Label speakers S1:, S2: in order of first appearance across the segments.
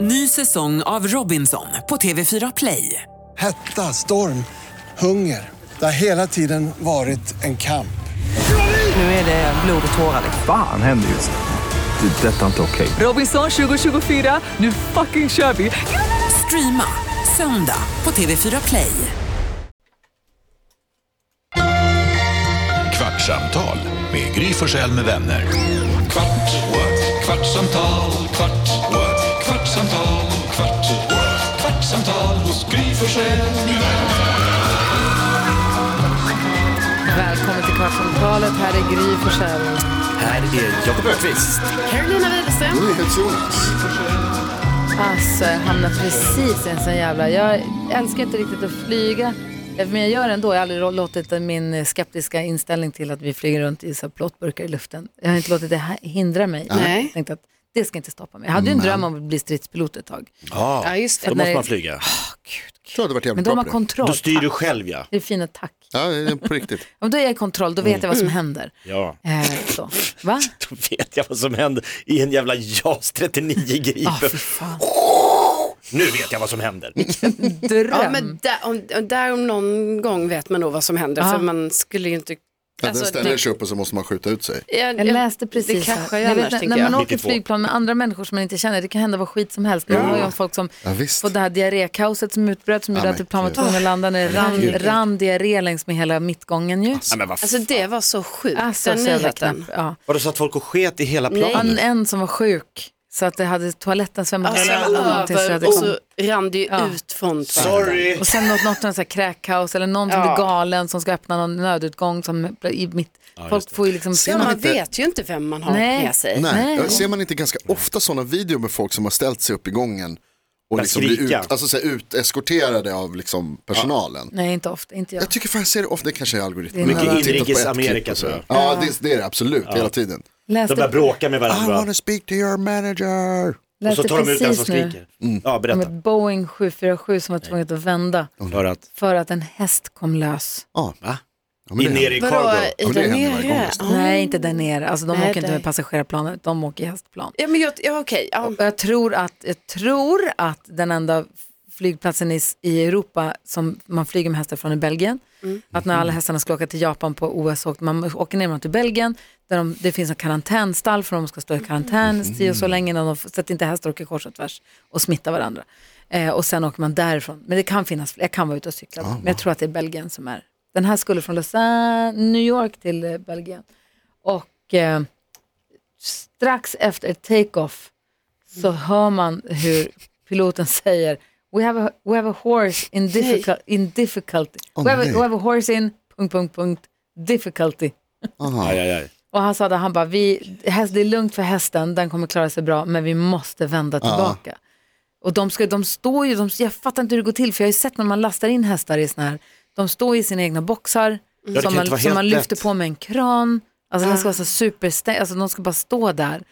S1: Ny säsong av Robinson på TV4 Play.
S2: Hetta, storm, hunger. Det har hela tiden varit en kamp.
S1: Nu är det blod och tårar. liksom.
S3: Fan händer just nu. Det. är Detta är inte okej.
S1: Robinson 2024, nu fucking kör vi! Streama söndag på TV4 Play.
S4: Kvartsamtal med Gry Forssell med vänner. Kvart, what? kvartsamtal, kvart, what? kvartsamtal, kvart, what? kvartsamtal hos Gry Forssell med vänner.
S5: Välkommen till Kvartsamtalet. Här är Gry Forssell.
S6: Här är Jakob Öqvist.
S5: Carolina Widerström. Alltså, jag hamnade precis i en sån jävla... Jag älskar inte riktigt att flyga. Men jag gör det ändå. Jag har aldrig låtit min skeptiska inställning till att vi flyger runt i så här plåtburkar i luften. Jag har inte låtit det här hindra mig.
S7: Nej.
S5: Jag tänkte att det ska inte stoppa mig. Jag hade ju en dröm om att bli stridspilot ett tag.
S6: Ja,
S7: Ja, just det.
S6: då måste man flyga.
S8: tror det hade varit
S5: Men
S8: jävligt
S5: då har
S8: bra
S5: man
S8: på det.
S5: kontroll.
S6: Då styr du
S5: Tack.
S6: själv ja.
S5: Det är fina tack.
S8: Ja, det är på riktigt.
S5: Ja, men då är jag i kontroll, då vet jag vad som händer.
S6: Ja,
S5: Eh, så. Va?
S6: då vet jag vad som händer i en jävla JAS 39
S5: Ah, fy
S6: Gripen.
S5: fan.
S6: Nu vet jag vad som händer.
S5: Dröm.
S7: Ja, men där om, där om någon gång vet man nog vad som händer.
S5: Ja.
S7: För Alltså, man skulle ju inte...
S8: Men den
S7: Alltså,
S8: ställer
S7: det-
S8: sig upp och så måste man skjuta ut sig.
S7: Jag,
S5: Jag läste precis
S7: Det kraschar ju
S5: här. Ni vet,
S7: annars,
S5: när,
S7: tänker
S5: när man
S7: jag.
S5: åker
S6: 92.
S5: flygplan med andra människor som man inte känner, det kan hända vad skit som helst. Man har ju om folk som
S8: Ja, visst.
S5: på det här diarrékaoset som utbröt som gjorde
S8: Ja,
S5: att
S8: men
S5: ett plan var
S8: gud.
S5: tvungen att landa när det rann, rann diarré längs med hela mittgången ju.
S6: Nej, men vad
S7: Alltså det var så sjukt,
S5: Alltså,
S7: den
S5: så jävla knäpp.
S7: nyheten.
S5: Ja.
S6: Var det så att folk och sket i hela planet?
S5: En, en som var sjuk så att det hade toaletten svämmat
S7: Alltså,
S5: över eller någonting så
S7: över,
S5: hade
S7: och
S5: kom-
S7: så rann det ju
S5: Ja.
S7: ut från
S6: Sorry!
S5: Och sen något, något, något så här kräkkaos eller någon som
S7: Ja.
S5: blir galen som ska öppna någon nödutgång som i mitt... folk får ju liksom...
S7: Ja,
S5: man-
S7: man vet ju inte vem man har
S5: Nej.
S7: med sig.
S8: Nej,
S5: Nej.
S8: jag ser man inte ganska ofta sådana videor med folk som har ställt sig upp i gången och
S6: Börjar
S8: liksom blir ut,
S6: skrika.
S8: alltså, så här, uteskorterade av liksom, personalen.
S5: Nej, inte ofta. Inte jag.
S8: Jag tycker fan jag ser det ofta, det kanske är algoritmen.
S5: Mycket
S8: Jag har tittat på
S6: inrikes
S8: ett klipp
S6: Amerika,
S8: och så.
S6: tror jag.
S8: Ja, det, det är det absolut, hela tiden.
S6: De
S5: Läste,
S6: börjar bråka med
S8: I
S6: varandra.
S8: wanna speak to your manager.
S6: Och så
S5: läste
S6: tar de ut den som
S5: precis nu
S6: skriker. Ja,
S5: om
S6: berätta.
S5: ett Boeing 747 som var tvunget att vända
S6: Hör att,
S5: för att en häst kom lös.
S8: Ja,
S6: va?
S8: ja, men
S6: In
S8: det-
S6: ner i
S7: Vadå,
S6: cargo.
S7: i
S8: men det
S7: där
S8: händer varje gång,
S7: nere?
S8: visst.
S7: Ja.
S5: Nej, inte där nere. Alltså, de
S7: Ah. Nej,
S5: åker inte
S7: nej.
S5: med passagerarplanen, de åker i hästplan.
S7: Ja, men jag, ja, okej. Ja.
S5: Och jag, tror att, jag tror att den enda flygplatsen i, s- i Europa som man flyger med hästar från är Belgien. Att när alla hästarna skulle åka till Japan på OS åkte man åker ner med dem till Belgien där de, det finns en karantänstall för de ska stå i karantän si och så länge innan de, f- så att inte hästar åker kors och tvärs och smittar varandra. Eh, och sen åker man därifrån. Men det kan finnas, jag kan vara ute och cykla, men jag tror att det är Belgien som är. Den här skulle från Lausanne, New York till eh, Belgien. Och eh, strax efter take-off så hör man hur piloten säger We have a, we have a horse in, difficul in difficulty. we, have a,
S8: nej.
S5: we have a horse in... Punkt, punkt, punkt, difficulty.
S6: Aj, aj, aj.
S5: Och han sa det, han bara, vi, häst, det är lugnt för hästen, den kommer klara sig bra, men vi måste vända tillbaka. Och de, ska, de står ju, de, jag fattar inte hur det går till, för jag har ju sett när man lastar in hästar i såna här, de står i sina egna boxar,
S6: det
S5: som,
S6: kan inte
S5: man,
S6: vara
S5: som
S6: helt
S5: man lyfter
S6: lätt.
S5: på med en kran. Alltså den ska vara så superstängd, alltså de ska bara stå där.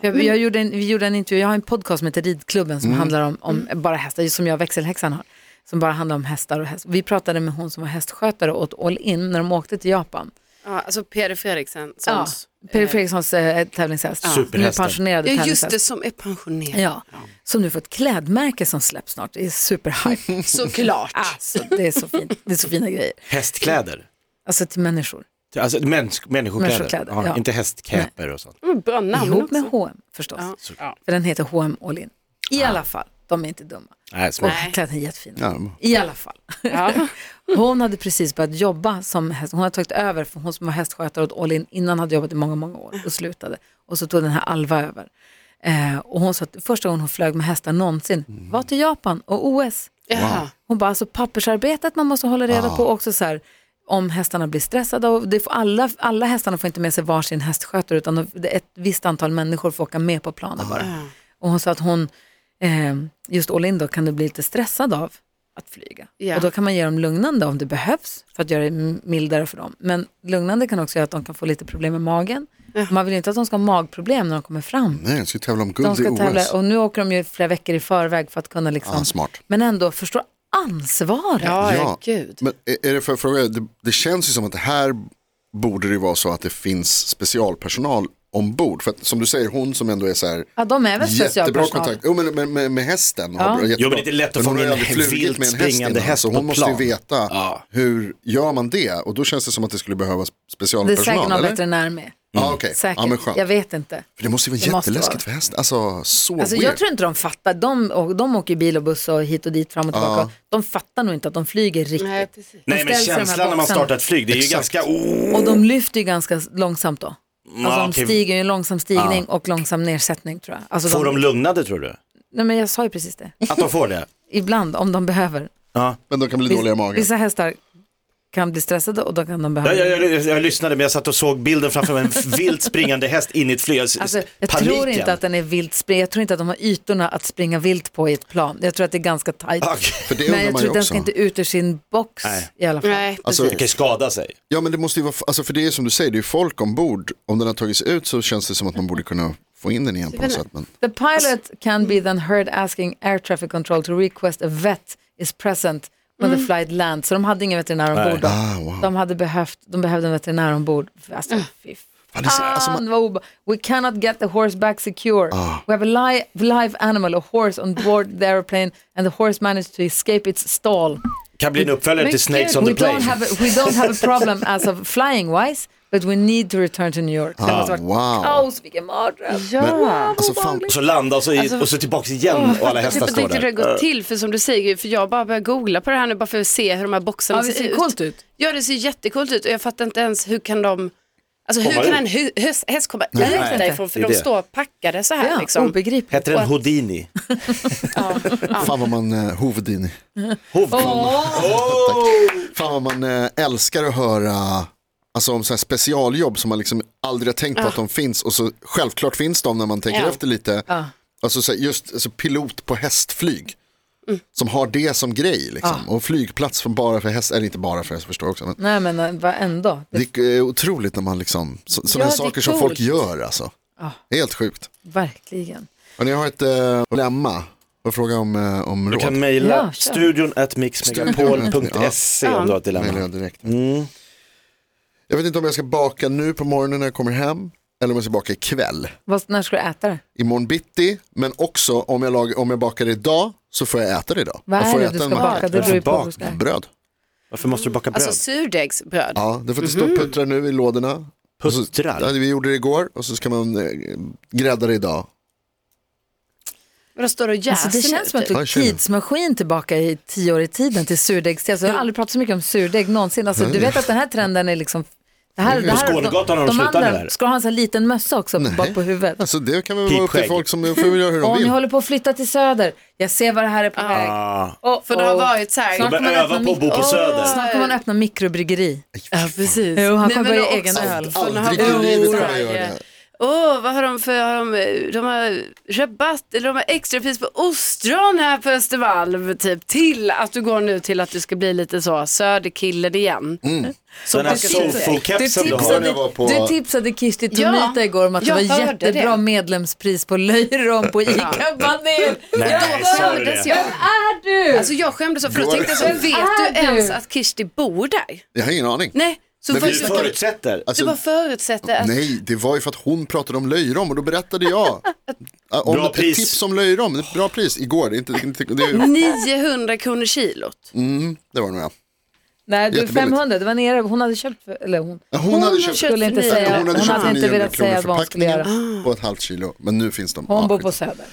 S5: Jag, jag gjorde en, vi gjorde en intervju, jag har en podcast som heter Ridklubben
S6: Mm.
S5: som handlar om, om bara hästar, som jag och växelhäxan har. Som bara handlar om hästar och häst. Vi pratade med hon som var hästskötare åt All In när de åkte till Japan.
S7: Ja, alltså Peder Fredriksen.
S5: Ja,
S7: Som,
S5: Peder Fredrikssons eh, tävlingshäst. Nu
S6: Superhästen.
S5: pensionerade
S7: ja, just
S5: tävlingshäst.
S7: det, som är pensionerad.
S5: Ja, som nu får ett klädmärke som släpps snart. Det är superhype.
S7: Såklart.
S5: alltså, det, är så fint. det är så fina grejer.
S6: Hästkläder.
S5: Alltså till människor.
S6: Alltså mänsk- människokläder.
S5: Människokläder,
S6: ja,
S5: ja.
S6: Inte hästkäpor och sånt.
S7: Mm, Bra namn
S5: Ihop
S7: också.
S5: med H&M förstås. För den heter H&M All In. I alla fall, de är inte dumma.
S6: Nej,
S5: Och
S6: smart.
S5: kläderna är jättefina.
S8: Ja, de-
S5: I alla fall.
S7: Ja.
S5: Hon hade precis börjat jobba som häst. Hon hade tagit över för hon som var hästskötare åt All In innan hade jobbat i många, många år och slutade. Och så tog den här Alva över. Eh, och hon sa att första gången hon flög med hästar någonsin
S8: Mm.
S5: var till Japan och OS.
S7: Jaha.
S5: Hon bara, alltså pappersarbetet man måste hålla reda på också så här, om hästarna blir stressade. Och det får alla, alla hästarna får inte med sig varsin hästskötare utan de- det- ett visst antal människor får åka med på planen bara. Och hon sa att hon, eh, just all in då, kan du bli lite stressad av att flyga.
S7: Ja.
S5: Och då kan man ge dem lugnande om det behövs för att göra det m- mildare för dem. Men lugnande kan också göra att de kan få lite problem med magen. Man vill ju inte att de ska ha magproblem när de kommer fram.
S8: Nej, jag ska tävla om
S5: De
S8: guld i
S5: ska
S8: OS.
S5: tävla och nu åker de ju flera veckor i förväg för att kunna liksom...
S8: Ja, smart.
S5: Men ändå förstå ansvaret.
S7: Ja, ja, gud.
S8: Men är är det för att fråga, det, det känns ju som att det här borde det ju vara så att det finns specialpersonal ombord. För att, som du säger, hon som ändå är så här
S5: Ja, de är väl
S8: jättebra
S5: specialpersonal.
S8: kontakt jo, men, med, med, med hästen.
S5: Ja.
S8: Har, bra- jättebra.
S6: Jo, men det är lätt att få
S8: hon har
S6: in
S8: ju aldrig
S6: en
S8: flugit
S6: vilt
S8: med en
S6: springande
S8: innan,
S6: häst
S8: så
S6: på
S8: Hon måste ju
S6: plan.
S8: veta,
S6: Ja.
S8: hur gör man det? Och då känns det som att det skulle behövas
S5: Det är säkert
S8: specialpersonal.
S5: någon
S8: eller?
S5: veterinär med.
S8: Ja, okej.
S5: Säkert.
S8: Ja, men skönt.
S5: jag vet inte.
S8: För det måste ju
S5: Det
S8: vara
S5: måste
S8: jätteläskigt
S5: vara.
S8: för häst. Alltså, så
S5: Alltså,
S8: weird.
S5: jag tror inte de fattar. De, och, de åker ju bil och buss och hit och dit fram och tillbaka.
S8: Ja.
S5: De fattar nog inte att de flyger riktigt.
S7: Nej, precis.
S5: De
S6: Nej men
S5: ställs i de här
S6: känslan när man
S5: boxarna.
S6: startar ett flyg, det är ju
S8: Exakt.
S6: ganska... Oh,
S5: Och de lyfter ju ganska långsamt då. Alltså
S6: ja,
S5: de
S6: okej.
S5: stiger ju en långsam stigning och långsam nedsättning tror jag. Alltså,
S6: Får de lugnade tror du?
S5: Nej men jag sa ju precis det.
S6: Att de får det?
S5: Ibland om de behöver.
S8: Men de kan bli
S5: Vis-
S8: dåliga i magen.
S5: Vissa hästar kan bli stressade och då kan de behöva.
S6: Jag, jag, jag, jag lyssnade men jag satt och såg bilden framför mig, en vilt springande häst in i ett flyg. Jag-
S5: Alltså, jag
S6: Paniken.
S5: tror inte att den är vilt spring. Jag tror inte att de har ytorna att springa vilt på i ett plan. Jag tror att det är ganska tajt.
S6: Okej,
S8: För det
S5: Men
S8: undrar
S5: jag tror
S8: man ju
S5: att den
S8: också.
S5: ska inte ut ur sin box
S6: Nej.
S5: i alla fall.
S7: Nej,
S8: Alltså,
S7: precis.
S6: den kan ju skada sig.
S8: Ja men det måste ju vara, alltså för det är som du säger, det är ju folk ombord. Om den har tagits ut så känns det som att man borde kunna få in den igen på något sätt. Men
S5: The pilot can be then heard asking air traffic control to request a vet is present when the flight lands. Så de hade ingen veterinär ombord då.
S8: Ah, wow.
S5: De hade behövt, de behövde en veterinär ombord. Alltså, fy
S8: fan, det är så, alltså, man,
S5: fan
S8: Ah.
S5: vad obe- We cannot get the horse back secure. We have a li live animal, a horse on board the airplane and the horse managed to escape its stall.
S6: Kan bli en uppföljare till Snakes on
S5: we
S6: the plane.
S5: Don't have a, we don't have a problem as of flying wise, but we need to return to New York. Det måste varit
S8: wow.
S5: kaos, vilken mardröm.
S7: Ja.
S8: alltså, fan,
S6: Och så landa och så,
S5: Alltså,
S6: i, och så tillbaks igen Mm, och alla hästar
S7: Jag typ
S6: står
S7: inte hur det
S6: där.
S7: har gått till, för som du säger, för jag bara börjar googla på det här nu bara för att se hur de här boxarna
S5: Ja, det
S7: ser,
S5: ser
S7: ut.
S5: coolt ut.
S7: Ja, det ser jättekult ut och jag fattar inte ens hur kan de, alltså hur
S6: Komma
S7: kan
S6: ut.
S7: en hö- höst, häst komma
S5: Nej.
S7: ut
S5: Nej.
S7: därifrån för
S6: Det är
S7: de
S6: det.
S7: står packade så här
S5: Ja,
S7: liksom.
S5: Obegripligt.
S6: Hette den Houdini?
S8: fan vad man, eh, Hovedin.
S6: Hovdin.
S8: Fan vad man eh, älskar att höra alltså, om så här specialjobb som man liksom aldrig har tänkt
S5: Ah.
S8: på att de finns. Och så självklart finns de när man tänker
S7: Ja.
S8: efter lite.
S5: Ah.
S8: Alltså så här, just alltså, pilot på hästflyg.
S5: Mm.
S8: Som har det som grej liksom.
S5: Ah.
S8: Och flygplats som bara för häst, eller inte bara för häst förstår jag också. Men
S5: Nej men eh, vad ändå.
S8: det är eh, otroligt när man liksom, så- sådana
S5: Ja,
S8: här
S5: det är
S8: saker som folk
S5: coolt.
S8: gör alltså. Helt sjukt.
S5: Verkligen.
S8: Och jag har ett eh, dilemma och fråga om, eh, om
S6: Du
S8: råd.
S6: kan
S5: Ja,
S6: mejla
S5: kör.
S6: studion at mixmegapol.se om du har ett
S8: Mejlar
S6: dilemma.
S8: jag direkt.
S6: Mm.
S8: Jag vet inte om jag ska baka nu på morgonen när jag kommer hem eller om jag ska baka ikväll.
S5: Vad, när ska du äta det?
S8: Imorgon bitti, men också om jag, lag, om jag bakar idag så får jag äta det idag.
S5: Vad
S8: jag
S5: är
S8: får
S5: det du
S8: äta
S5: ska
S8: en
S5: baka?
S8: baguette.
S5: Det beror ju på
S6: Bak-
S5: vad du ska äta.
S8: Bröd.
S6: Varför måste du baka bröd?
S7: Alltså surdegsbröd.
S8: Ja, det får inte stå
S6: Mhm.
S8: och puttra nu i lådorna. Och så-
S6: Puttrar?
S8: Ja, vi gjorde det igår och så ska man eh, grädda det idag.
S7: Och de står och jäser
S5: Alltså, det känns som att du
S8: Ja,
S5: är
S8: jag känner.
S5: tidsmaskin tillbaka i tio år i tiden till surdegste. Alltså, jag har aldrig pratat så mycket om surdeg någonsin. Alltså, du vet att den här trenden är liksom... Det här, det här,
S6: Skånegatan har de slutat med det här.
S5: Ska du ha en sån här liten mössa också bak på huvudet?
S8: Alltså det kan väl vara upp till
S6: Pipskägg.
S8: folk som de får väl göra hur de
S5: Åh, ni
S8: vill.
S5: håller på att flytta till söder. Jag ser vad det här är
S8: Ah.
S5: på väg.
S6: Ah,
S7: Oh, för det har varit så här.
S5: Snart
S6: De
S5: kommer
S6: övar
S5: öppna
S6: på att bo på
S5: mik-
S6: Söder.
S5: Åh, Snart kommer man öppna mikrobryggeri.
S7: Ja, precis.
S5: Jo, han kommer
S7: men
S5: börja
S7: också-
S5: egen öl.
S7: för de har
S8: Aldrig i
S7: varit
S8: livet
S7: så
S8: kommer
S7: här,
S8: jag göra det.
S7: Åh, vad har de för, har de, de har rabatt eller de har extrapris på ostron här på Östermalm typ till att du går nu till att du ska bli lite så söderkillen igen.
S8: Mm.
S7: Som
S6: Den här
S7: bakar in sig.
S6: soulfood-kepsen du har.
S8: när jag var
S5: tipsade,
S8: på-
S5: du tipsade Kirsti Tomita
S7: Ja,
S5: igår om att det
S7: jag
S5: var
S7: hörde
S5: jättebra
S7: det.
S5: medlemspris på löjrom på ICA Baner.
S6: Nej, sa du
S7: Skämdes
S6: det?
S7: jag.
S5: Är du?
S7: Alltså jag skämdes så, för då
S8: Då-
S7: tänkte jag så,
S5: Är
S7: vet du ens
S5: du?
S7: att Kirsti bor där?
S8: Jag har ingen aning.
S7: Nej, så
S8: Men
S7: vad-
S6: Du
S8: vi-
S7: så kan-
S6: förutsätter.
S8: Alltså,
S7: du bara förutsätter
S5: alltså-
S7: att
S8: Nej, det var ju för att hon pratade om löjrom och då berättade jag. Äh, om
S6: Bra
S8: ett
S6: pris.
S8: tips om löjrom, ett bra pris igår. Det, är inte, det, är inte- det,
S5: Mm.
S8: är-
S7: 900 kronor kilot.
S8: det var nog jag.
S5: Nej, du
S8: Jättebilligt.
S5: 500, det var nere, hon hade köpt, för, eller hon,
S8: Ja, hon hade köpt-
S5: skulle inte
S7: Hon
S5: säga,
S8: hon
S5: hon
S8: hade
S5: hade,
S8: köpt för
S5: inte
S8: 900
S5: velat säga
S8: kronor
S5: vad hon skulle göra.
S8: förpackningen på ett halvt kilo. Men nu finns de.
S5: Hon
S8: Ja,
S5: bor på
S8: skit.
S5: Söder.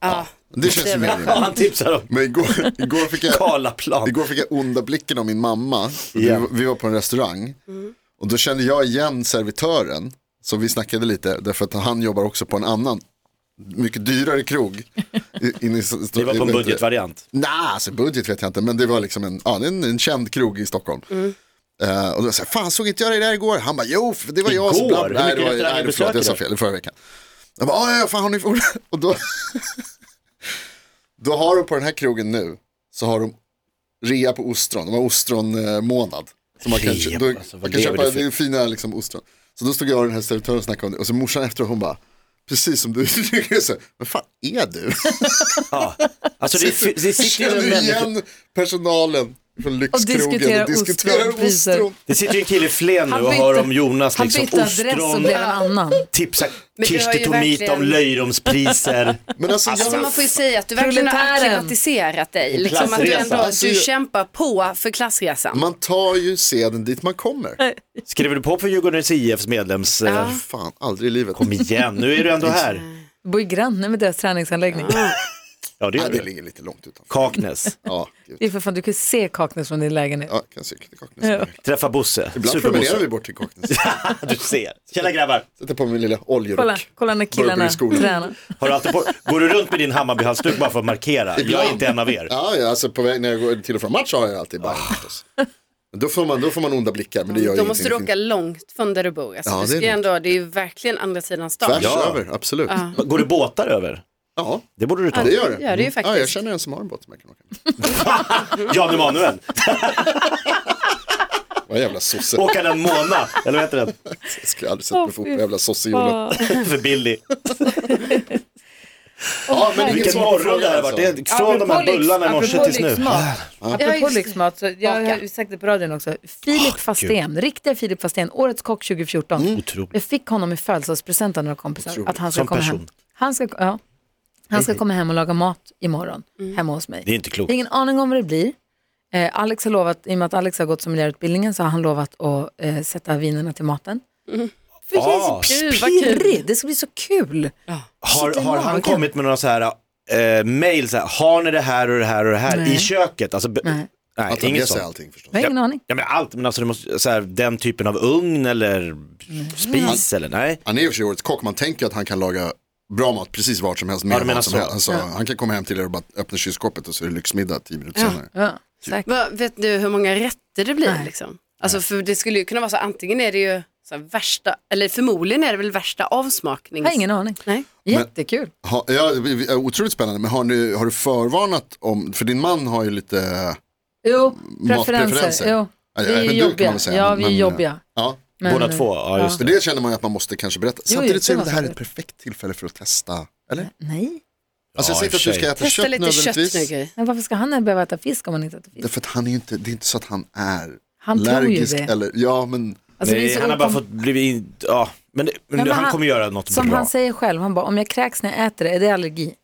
S7: Ja.
S8: Det känns ju mer
S6: Ja,
S8: rimligt.
S6: han tipsar om
S8: Men igår, igår, fick jag,
S6: Karlaplan.
S8: igår fick jag onda blicken av min mamma.
S6: Ja.
S8: Vi, vi var på en restaurang.
S5: Mm.
S8: Och då kände jag igen servitören. Så vi snackade lite, därför att han jobbar också på en annan, mycket dyrare krog. I- inne i-
S6: Det var på en budgetvariant.
S8: Nej, alltså budget vet jag inte, men det var liksom en, ja, det är en, en känd krog i Stockholm.
S6: Mm.
S8: Eh, och då sa jag, fan såg inte jag dig där igår? Han bara, jo, för det var jag som...
S6: Igår?
S8: bla-
S6: Hur
S8: Nej,
S6: mycket
S8: det var,
S6: restauranger
S8: nej, det- förlåt, jag sa
S6: besöker
S8: fel, i förra veckan. Jag bara, "Ja, ja, ja, fan har ni... Och då, då har de på den här krogen nu, så har de rea på ostron, de har ostronmånad. Så man kan,
S6: Rea,
S8: då,
S6: alltså, vad
S8: man kan
S6: lever
S8: köpa
S6: du för?
S8: det är fina liksom, ostron. Så då stod jag och den här servitören och snackade om det, och så morsan efteråt, hon bara, precis som du, så, här, vad fan är du?
S6: Ja. Alltså det, det sitter ju
S8: Känner
S6: en människa.
S8: igen personalen från lyxkrogen och
S5: diskuterar
S8: diskuterar,
S5: ostronpriser.
S8: ostron.
S6: Det sitter ju en kille i Flen nu
S5: Han
S6: och
S5: bytte-
S6: hör om Jonas
S5: Han
S6: liksom
S5: bytte adress och
S6: ostron,
S5: blev en annan.
S6: tipsar
S7: du har ju
S6: Kirsti Tomita om
S7: verkligen-
S6: löjromspriser.
S8: Men alltså,
S7: Alltså
S8: jag,
S7: man får ju säga att du verkligen har
S5: Proletären.
S7: akklimatiserat dig. Liksom att du,
S6: Klassresan.
S7: ändå,
S8: Alltså,
S7: du
S8: jag-
S7: kämpar på för klassresan.
S8: man tar ju seden dit man kommer.
S6: Skriver du på för Djurgårdens IFs medlems... eh,
S8: Fan, aldrig i livet.
S6: Kom igen, nu är du ändå här.
S5: Du bor ju granne med deras träningsanläggning.
S6: Ja, det
S8: Nej,
S6: gör
S8: det
S6: du.
S8: ligger lite långt utanför.
S6: Kaknäs,
S8: Ja, gud.
S5: Det är för fan, du kan ju se Kaknäs från din lägenhet.
S8: Ja, kan cykla till Kaknäs.
S6: träffa Bosse,
S8: Ibland promenerar
S6: Superbosse.
S8: vi bort till Kaknäs.
S6: Du ser. Tjena grabbar.
S8: Sätter på min lilla
S5: Kolla,
S8: oljerock.
S5: kolla när killarna
S8: Burberry-skolan.
S5: tränar.
S6: Har du alltid på... Går du runt med din Hammarbyhalsduk bara för att markera? Jag är inte en av er.
S8: Ja, ja, alltså på väg när jag går till och från match har jag alltid bara förstås.
S6: Ah.
S8: Men Då får, man, då får man onda blickar, men det gör ju
S7: Då måste du
S8: ingenting.
S7: åka långt från där du bor. Alltså,
S8: Ja, det är
S7: du ska ju
S8: långt.
S7: ändå, det är ju verkligen andra sidan stan.
S8: Tvärs
S6: Ja.
S8: över, absolut. Ja,
S6: Går du båtar över? Det borde du ta.
S8: det gör det.
S7: gör det ju
S8: Mm. Ja, jag
S7: faktiskt.
S8: känner en som har en båt som jag kan åka med.
S6: Jan Emanuel.
S8: Vad jävla sosse,
S6: Åka den Mona, eller vad heter den?
S8: jag skulle aldrig sätta mig fot på jävla sosse Jonas.
S6: För Billy.
S8: Ja, men inget
S6: Vilken
S8: svar
S6: morgon det
S8: på frågan
S6: här har varit.
S8: alltså.
S6: Det är Från de här
S5: Apropå lyx-
S6: bullarna i morse
S5: apropå
S6: tills nu.
S5: lyxmat. Apropå
S7: just det.
S5: lyxmat, så jag har ju sagt det på radion också. Filip Fastén, riktiga Filip Fastén, årets kock 2014.
S6: Mm. Otroligt.
S5: Jag fick honom i födelsedagspresent av några kompisar. Att han ska
S6: Som
S5: komma hem.
S6: person.
S5: Han ska, ja, han ska komma hem och laga mat imorgon, hemma hos mig.
S6: Det är inte klokt.
S5: Jag har ingen aning om vad det blir. Eh, Alex har lovat, i och med att Alex har gått sommelierutbildningen så har han lovat att eh, sätta vinerna till maten. För
S6: Ah,
S5: jag är så pirrig, det ska bli så kul.
S6: Har,
S5: Sitter i
S6: har han
S5: magen.
S6: kommit med några så här eh, mail, så här, har ni det här och det här och det här
S5: Nej.
S6: i köket? Alltså, be-
S5: Nej.
S6: nej
S8: Att ta med
S6: inget
S8: sig
S6: sånt.
S8: allting förstås.
S5: Jag har ingen aning.
S6: Ja, men allt, men alltså, det måste, så här, den typen av ugn eller
S5: Mm-hmm.
S6: spis eller nej.
S8: Han är i och för sig årets kock, man tänker att han kan laga bra mat precis vart som helst,
S6: Ja,
S8: med
S6: du
S8: ja,
S6: menar
S8: mat som
S6: så.
S8: helst. Alltså, Han kan komma hem till er och bara öppna kylskåpet och så är det lyxmiddag tio minuter senare.
S5: Ja, säkert.
S7: Va, vet du hur många rätter det blir?
S5: Nej.
S7: Liksom? Alltså, för det skulle ju kunna vara så, antingen är det ju så här, värsta, eller förmodligen är det väl värsta avsmaknings...
S5: Jag har ingen aning.
S7: Nej.
S5: Jättekul.
S8: Ha, ja, det är otroligt spännande, men har, ni, har du förvarnat om, för din man har ju lite
S5: Jo, preferenser.
S8: Matpreferenser.
S5: Jo,
S8: Ja,
S5: vi är
S8: även
S5: ju
S8: du kan
S5: jobbiga.
S8: man väl säga,
S5: Ja,
S8: men- eh,
S5: vi är
S8: men-
S5: jobbiga.
S8: Ja,
S5: Men,
S6: Båda
S5: eh,
S6: två, ja just
S8: för
S6: det.
S8: det känner man ju att man måste kanske berätta.
S5: Jo,
S8: Samtidigt så är
S5: det
S8: det här
S5: måste
S8: ett perfekt tillfälle för att testa. Eller?
S5: Nej,
S8: alltså
S6: Ja,
S8: jag säger
S6: i
S8: inte att
S6: och
S8: du
S6: för
S8: ska
S6: sig.
S8: äta
S7: Testa
S8: kött
S7: lite kött nu,
S8: nödvändigtvis.
S7: Gry.
S5: men varför ska han behöva äta fisk om han inte äter fisk?
S8: Därför att han är ju inte, det är inte så att han är
S5: Han tror ju
S8: allergisk.
S5: det.
S8: Eller, ja, men
S5: Alltså, det är
S6: nej,
S5: så
S6: han har bara
S5: okom-
S6: fått blivit, in- ja, men, det, men
S5: Ja, men
S6: han, kommer göra något
S5: Som
S6: bra.
S5: han säger själv, han bara, om jag kräks när jag äter det, är det allergi?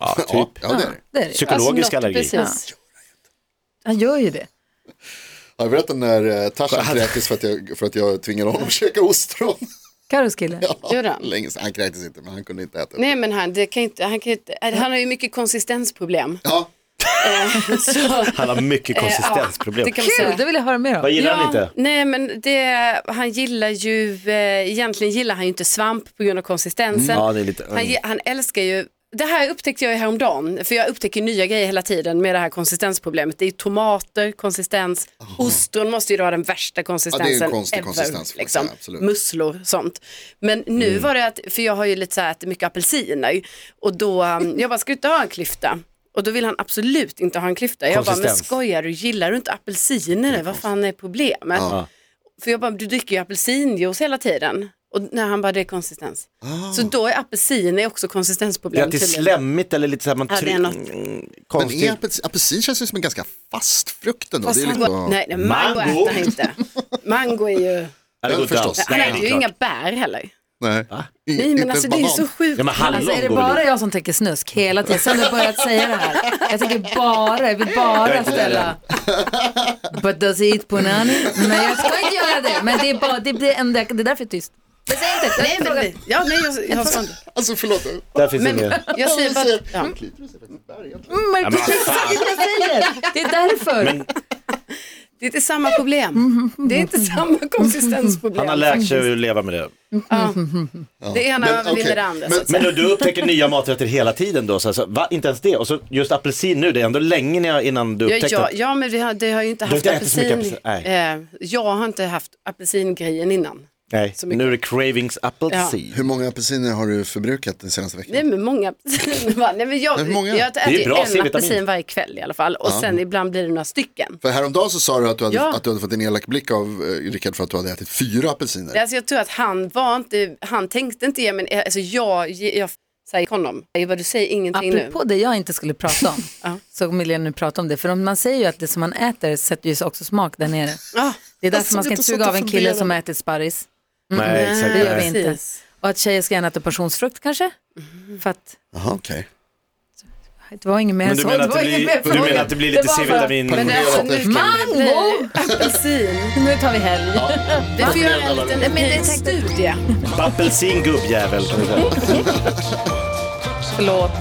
S6: ja,
S8: ja,
S6: typ.
S8: ja, det är det.
S5: Det är det.
S6: Psykologisk
S7: Alltså, något-
S6: allergi.
S7: Precis.
S5: Han gör ju det.
S8: Har jag berättat när eh, Tarzan kräktes för att, jag, för att jag tvingade honom att käka ostron?
S5: Karos kille.
S7: Gjorde han?
S8: Länge sedan. Han kräktes inte, men han kunde inte äta.
S7: Nej men han, det kan ju inte, han, kan ju inte, han har ju mycket konsistensproblem.
S8: Ja,
S7: Eh,
S8: Alltså.
S7: så,
S6: Han har mycket konsistensproblem.
S7: det kan man säga.
S5: Kul, det vill jag höra mer
S6: Vad
S5: om.
S6: gillar han inte?
S7: Nej men det, han gillar ju, eh, egentligen gillar han ju inte svamp på grund av konsistensen.
S6: Ja, det är lite,
S7: han, ge- han älskar ju, det här upptäckte jag ju häromdagen, för jag upptäcker nya grejer hela tiden med det här konsistensproblemet. Det är ju tomater, konsistens, ostron måste ju då ha den värsta konsistensen
S8: en konstig konsistens, får jag
S7: liksom.
S8: säga, absolut.
S7: Musslor, sånt. Men nu var det att, för jag har ju lite så här ätit mycket apelsiner och då, um, jag bara, ska du inte ha en klyfta? Och då vill han absolut inte ha en klyfta. Jag bara, men
S6: Konsistens.
S7: skojar du, gillar du inte apelsiner? Vad fan är problemet? För jag bara, du dricker ju apelsinjuice hela tiden. Och när han bara, det är konsistens. Så då är apelsin är också
S6: Det är
S7: konsistensproblem
S6: alltid
S7: tydligen.
S6: slemmigt eller lite så här, man
S7: Ja, det är
S6: tryck-
S7: något.
S6: mm,
S8: men är
S6: konstigt.
S8: apelsin, apelsin känns ju som en ganska fast frukt ändå.
S7: Fast
S8: Det är
S7: han
S8: lite,
S7: går, nej, nej, mango,
S6: Mango.
S7: äter han inte. Mango är ju,
S6: Ja, det går
S8: Ja,
S6: inte
S8: förstås.
S6: alls.
S7: han
S6: Nej,
S7: äter ju
S6: klart.
S7: inga bär heller.
S8: nej. Inget-
S7: Nej men
S8: inte
S7: alltså
S8: ens
S7: det är ju
S8: banan.
S7: så sjukt.
S6: Ja, men hallon
S5: Alltså är det
S6: går väl
S5: bara
S6: ut.
S5: jag som tänker snusk hela tiden? Sen har jag börjat säga det här. Jag tänker bara, jag vill bara
S6: inte där
S5: ställa. But does he eat punani? Men jag ska inte göra det. Men det är bara, det blir en, det är därför jag är tyst. Jag säger inte.
S7: Nej, men, det- ja, nej, jag, jag, jag,
S8: Alltså förlåt.
S6: Där finns
S7: men,
S6: ingen.
S7: jag säger bara, ja.
S5: Men
S6: men vad
S5: jag säger det jag säger. Det är därför.
S7: Det är inte samma problem. Det är inte samma konsistensproblem.
S6: Han har lärt sig att leva med det.
S7: Det ena
S8: Men,
S7: övervinner
S8: okej.
S7: det andra.
S8: Men-
S7: så att
S6: Men
S7: säga.
S6: då, du upptäcker nya maträtter hela tiden då? Så här, så, va, inte ens det? Och så just apelsin nu, det är ändå länge när jag- innan du
S7: ja,
S6: upptäckte
S7: ja,
S6: att-
S7: ja, men vi har, det har ju inte
S6: har
S7: haft
S6: inte ätit så mycket
S7: apelsin.
S6: apelsin,
S7: eh, jag har inte haft apelsingrejen innan.
S6: Nej,
S7: så mycket.
S6: nu är det cravings apelsin.
S8: Hur många apelsiner har du förbrukat den senaste veckan?
S7: Nej men många apelsiner. va? Nej, men jag,
S8: Men många.
S7: jag
S6: är
S7: äter ju
S6: bra
S7: en
S6: C-vitamin.
S7: apelsin varje kväll i alla fall och sen ibland blir det några stycken.
S6: Mm.
S8: För häromdagen så sa du att du hade,
S7: Ja.
S8: att du hade fått en elak blick av eh, Rickard för att du hade ätit fyra apelsiner.
S7: Alltså, jag tror att han var inte, han tänkte inte ge mig, en- alltså jag, jag, jag säger honom, jag bara, du säger ingenting nu.
S5: Apropå det jag inte skulle prata om, så Milena nu prata om det. För om man säger ju att det som man äter sätter ju också smak där nere.
S7: Ah,
S5: Det är därför
S9: Alltså,
S5: man
S9: det
S5: ska
S9: är
S5: inte
S9: så
S5: suga
S9: att
S5: av en
S9: fundera.
S5: kille som har ätit sparris.
S6: Nej,
S7: Mm.
S6: exakt.
S5: Det gör vi
S6: Nej.
S5: inte.
S7: precis.
S5: Och att tjejer ska gärna äta passionsfrukt kanske. För att
S8: Jaha, okej.
S5: det var inget mer
S6: Men du
S5: så.
S6: menar att
S5: var
S6: det
S5: ingen
S6: blir,
S5: mer
S6: du menar
S5: fråga.
S6: att det blir lite
S5: var bara-
S6: C-vitamin?
S7: Men det, alltså, nu kan det bli
S5: Mango!
S7: apelsin.
S5: Nu tar vi helg.
S7: Vi får göra en liten
S5: Nej, men det tänkte-
S7: studie.
S6: Apelsin gubbjävel. kan vi säga.
S5: Förlåt.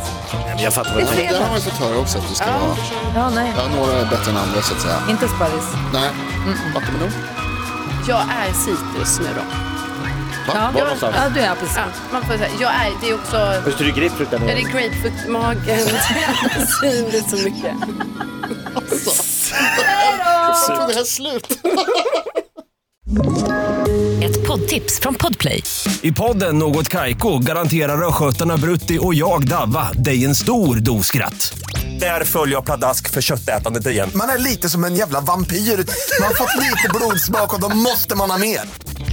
S6: Men Jag fattar vad du
S8: Ja,
S6: menar.
S8: det har man ju fått höra också att du ska ha.
S5: Ja, nej.
S8: Ja, några är bättre än andra så att säga.
S5: Inte sparris.
S8: Nej, fattar man då?
S7: Jag är citrus nu då.
S8: Va?
S5: Ja,
S6: Var någonstans?
S5: ja du är apelsin.
S7: Ja, man får säga. Jag är, det är också, ja,
S6: Hur står det i grapefrukt där
S7: det
S6: nere?
S7: är grapefruktmagen. Apelsin, det är så mycket.
S8: Jag tog det här slut.
S10: Ett poddtips från Podplay.
S11: I podden Något Kaiko garanterar östgötarna Brutti och jag, Davva, dig en stor dos skratt. Där följer jag pladask för köttätandet igen.
S12: Man är lite som en jävla vampyr. Man har fått lite blodsmak och då måste man ha mer.